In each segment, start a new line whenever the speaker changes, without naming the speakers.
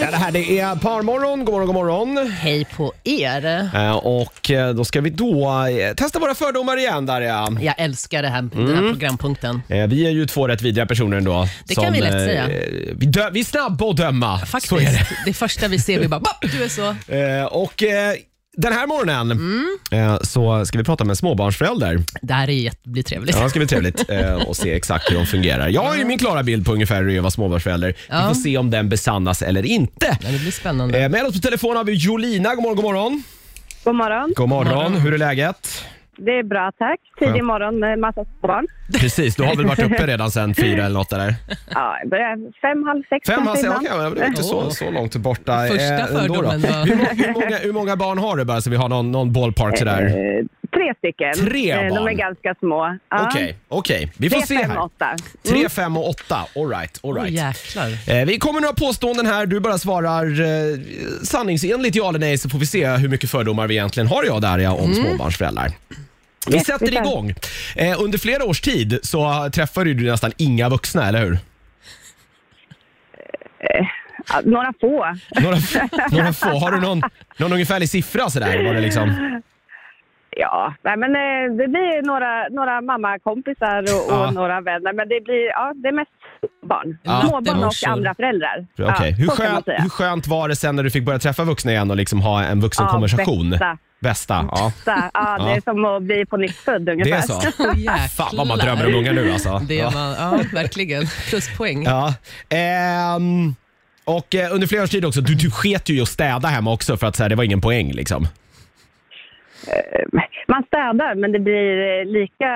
Ja, det här det är Parmorgon, god morgon, god morgon.
Hej på er.
Eh, Och eh, då ska vi då eh, testa våra fördomar igen Darja.
Jag älskar det här, den här programpunkten.
Eh, Vi är ju två rätt vidriga personer ändå.
Det kan vi lätt
eh,
säga.
Vi, dö- vi är snabba att döma.
Faktiskt,
Så är det.
det första vi ser vi bara, "Bop, du är så.
Eh, Och eh, den här morgonen
Mm.
eh, så ska vi prata med en småbarnsförälder.
Det här är jätte- blir trevligt.
Ja, det ska bli trevligt eh, och se exakt hur de fungerar. Jag har ju min klara bild på ungefär hur det är att vara småbarnsförälder. Vi
Mm. Ja.
får se om den besannas eller inte.
Ja, Det blir spännande.
Eh, Med oss på telefon har vi Jolina. God morgon, god morgon.
God morgon.
God morgon. Hur är läget?
Det är bra, tack. Tidig
Skönt.
morgon med massa barn.
Precis, du har väl varit uppe redan sen fyra eller något eller?
Ja, jag börjar fem, halv sex
Fem,
kanske
han säger,
ibland.
okej, men det är inte så, så långt borta.
Första
eh, ändå då.
fördomen var-
Hur, må- hur, många, hur många barn har du bara så vi har någon, någon ballpark sådär?
Eh, Tre stycken.
Tre
Eh, De
barn.
är ganska små. Ja.
Okej, okej. Vi får
Tre,
se
fem,
här.
åtta. Mm. Oh,
Tre, fem och åtta. All right, all
Åh,
right.
jäklar.
Eh, Vi kommer några påståenden här. Du bara svarar eh, sanningsenligt ja eller nej så får vi se hur mycket fördomar vi egentligen har jag där ja,
Mm.
om småbarnsföräldrar. Vi
Yes, vi
sätter
kör.
igång. Eh, under flera års tid så träffar ju du nästan inga vuxna, eller hur?
Ja, några få.
Några, f- några få. Har du någon, någon ungefärlig siffra sådär? Var det liksom,
Ja, nej, men eh, det blir några, några mammakompisar och, och
Ja.
några vänner. Men det blir, ja, det är mest barn.
Ja.
Småbarn och
Lattemorsor.
andra föräldrar.
Okej. hur,
så kan man
skönt,
säga.
hur skönt var det sen när du fick börja träffa vuxna igen och liksom ha en vuxenkonversation?
Ja, bästa.
Bästa, ja.
Så, ja, det
Ja.
är som att bli på nytt född ungefär.
Det är så.
Åh, jäklar.
Fan vad man drömmer om unga nu alltså.
Det är
ja.
man, ja, verkligen. Pluspoäng.
Ja. Ehm, och eh, under flera års tid också, du, du sket ju i att städa hemma också för att så här, det var ingen poäng liksom.
Man städar, men det blir eh, lika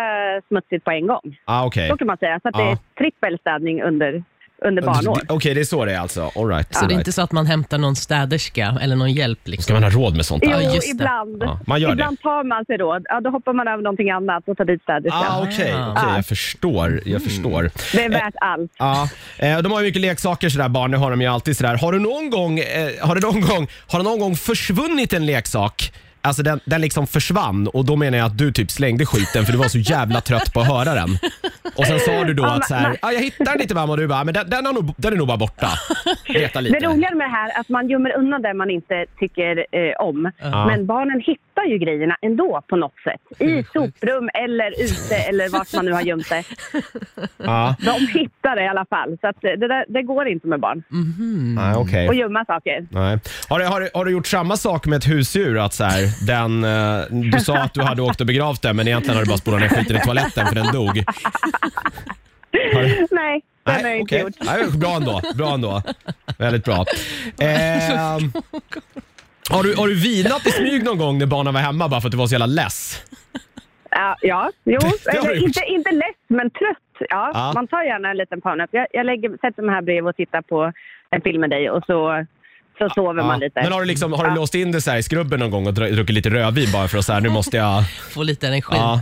smutsigt på en gång.
Ah, okej.
Så kan man säga. Så att det
Ja.
är trippelstädning under, under barnår.
Okej, det är så det är alltså. All right,
Så
all
det är
right.
inte så att man hämtar någon städerska eller någon hjälp?
Ska
Liksom.
man ha råd med sånt
Jo,
där?
Ja, just det.
ibland.
Ja, man gör det.
ibland tar man sig råd. Ja, då hoppar man över någonting annat och tar dit städerskan.
Ah, okej, okej, jag förstår. Jag förstår.
Det är värt allt.
Ja, eh, de har ju mycket leksaker sådär barn, det har de ju alltid sådär. Har du någon gång, eh, har du någon gång, har du någon gång försvunnit en leksak? Alltså den, den liksom försvann och då menar jag att du typ slängde skiten för du var så jävla trött på att höra den. Och sen sa du då att så här, ah, jag hittar den inte mamma och du bara, men den, den, har nog, den är nog bara borta. Leta
Det
lite.
roliga med det här är att man gömmer undan det man inte tycker eh, om.
Ja. Mm.
Men barnen hittar ju grejerna ändå på något sätt. I soprum eller ute eller vart man nu har gömt det.
Ja,
De hittar det i alla fall. Så att eh, det, där, det går inte med barn
Mhm.
Mm. nej okej.
att gömma saker.
Nej. Har, du, har, du, har du gjort samma sak med ett husdjur? Att så här, den, eh, du sa att du hade åkt och begravt den men egentligen hade du bara spolat ner skiten i toaletten för den dog. Har du-
Nej, det har jag inte
okej.
gjort.
Nej, bra ändå. Bra ändå. Väldigt bra. Ehm, har, du, har du vilat i smyg någon gång när barnen var hemma bara för att du var så jävla less?
Ja, ja jo.
det har du
Eller,
gjort.
inte, inte lätt, men trött. Ja,
Ja.
Man tar gärna en liten powernap. Jag, jag lägger, sätter mig här bredvid och tittar på en film med dig och så, så sover
Ja.
man lite.
Men har du, liksom, har du låst in det så här i skrubben någon gång och dra- druckit lite rödvin bara för att så här, nu måste jag...
Få lite energi.
Ja,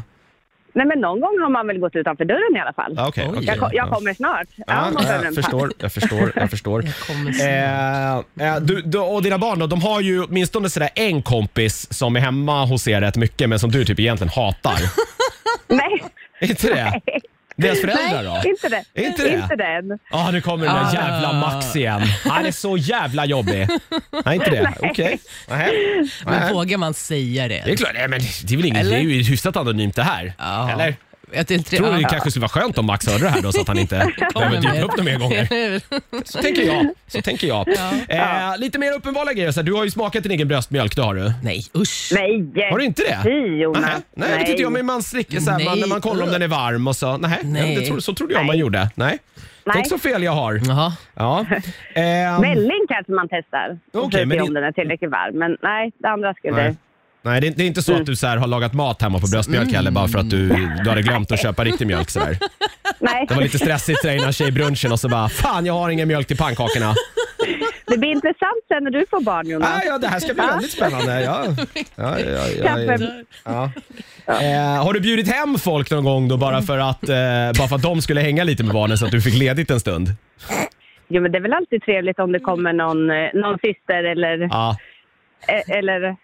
Nej, men någon gång har man väl gått utanför dörren i alla fall.
ja, okej.
Oj.
okej.
Jag, ko- jag kommer snart. Ja,
Ja,
man behöver
jag
en paus.
förstår, jag förstår, jag förstår.
Jag kommer snart.
Eh, eh, du, du och dina barn då, de har ju åtminstone sådär en kompis som är hemma hos er rätt mycket men som du typ egentligen hatar.
Nej,
Är inte det? Deras föräldrar då?
inte det.
Inte det?
Inte den.
Ja, nu kommer den där
Ah.
jävla Max igen. Han är så jävla jobbig. Nej, inte det. Okej. Nähä.
Men
Nähä.
vågar man säga det?
Det är klart, nej, men det är väl inget, det
Eller?
är ju hyfsat anonymt det här.
Ja.
Eller?
Jag inte,
Tror du det
ja.
kanske skulle vara skönt om Max hörde det här då så att han inte behöver dyka upp några mer gånger? Så tänker jag. Så tänker jag. Eh, lite mer uppenbara grejer. Så här, du har ju smakat din egen bröstmjölk, det har du.
Nej, usch.
Nej.
Har du inte det?
Fy, Jonas.
Nähä. Nej, det tyckte jag. Men man slickar så här, man,
Nej.
när man kollar om den är varm och så. Nej,
Nej.
Det tro, så trodde jag man gjorde. Nej. Tänk så fel jag har.
Jaha.
Ja. Ehm,
Välling kanske man testar.
Okej,
Okay,
men
men
det-
om den är tillräckligt varm. Men nej, det andra skulle...
Nej. Nej, det är, det är inte så att du så här har lagat mat hemma på bröstmjölk heller bara för att du, du hade glömt att köpa riktig mjölk. Så här.
Nej,
Det var lite stressigt så här innan tjejbrunchen och så bara “Fan, jag har ingen mjölk till pannkakorna”.
det blir intressant sen när du får barn, Jonas.
Ah, ja, det här ska bli väldigt spännande. Ja. Ja, ja, ja, ja,
Kaffe.
ja. Eh, har du bjudit hem folk någon gång då bara för, att, eh, bara för att de skulle hänga lite med barnen så att du fick ledigt en stund?
Jo, men det är väl alltid trevligt om det kommer någon, eh, någon syster eller,
Ja,
eh, eller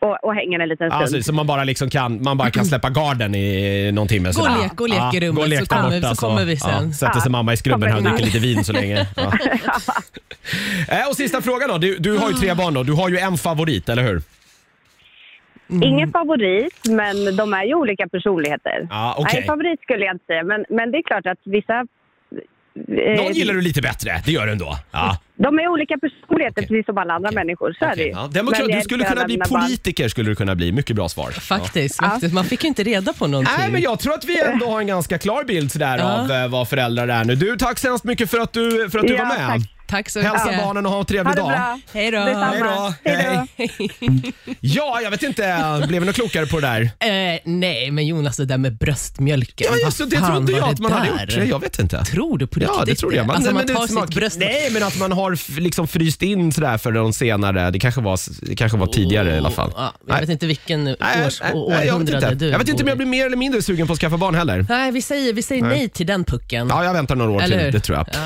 och, och hänger en liten stund.
Alltså, så man bara, liksom kan, man bara kan släppa garden i någon timme.
Gå och
sådär.
lek, gå och lek i rummet,
gå och lek
så
där
kommer- så kommer vi sen.
Ja, sätter sig
Ja,
mamma i skrubben här och
kommer
dricker lite vin så länge. Ja. Eh, och sista frågan då. Du, du har ju tre barn då. Du har ju en favorit, eller hur? Mm.
Ingen favorit, men de är ju olika personligheter.
Ja, okej.
Nej, favorit skulle jag inte säga, men, men det är klart att vissa... eh,
Någon gillar du lite bättre. Det gör du ändå. Ja.
De är olika personligheter,
Okej.
precis som alla andra
Okej.
människor. Så är det ju.
Ja,
Men
demokrat,
jag
du skulle
älskar
kunna
alla
bli
mina barn.
politiker. skulle du kunna bli. Mycket bra svar. Ja.
Faktiskt, faktiskt. Man fick ju inte reda på någonting.
Nej, men jag tror att vi ändå har en ganska klar bild sådär
Ja.
av eh, vad föräldrar är nu. Du, tack så hemskt mycket för att du, för att du
Ja,
var med.
tack.
Tack så mycket.
Hälsa barnen och ha en
Ha
trevlig
det
dag.
bra.
Hej då.
Detsamma.
Hej då.
Hej
Ja, jag vet inte. Blev vi något klokare på det där?
Eh, nej, men Jonas, det där med bröstmjölken.
Ja,
Vad
just det. Det
fan
trodde
var
jag att man hade
där?
gjort. Nej, Jag vet inte.
Tror du på riktigt
Ja, det trodde jag. Man,
Alltså,
nej,
man
men det är
tar
inte
sitt
smak-
bröst...
Nej, men att man har f- liksom fryst in sådär för de senare. Det kanske var, det kanske var tidigare i alla fall.
Ja, jag
Nej.
vet inte vilken
Nej,
års,
nej,
å-
nej, jag vet
århundrade
inte.
du
Jag vet inte om
bor i.
jag blir mer eller mindre sugen på att skaffa barn heller.
Nej, vi säger, vi säger nej. till den pucken.
Ja, jag väntar några år
Eller
till.
hur?
Det tror jag.
Ja.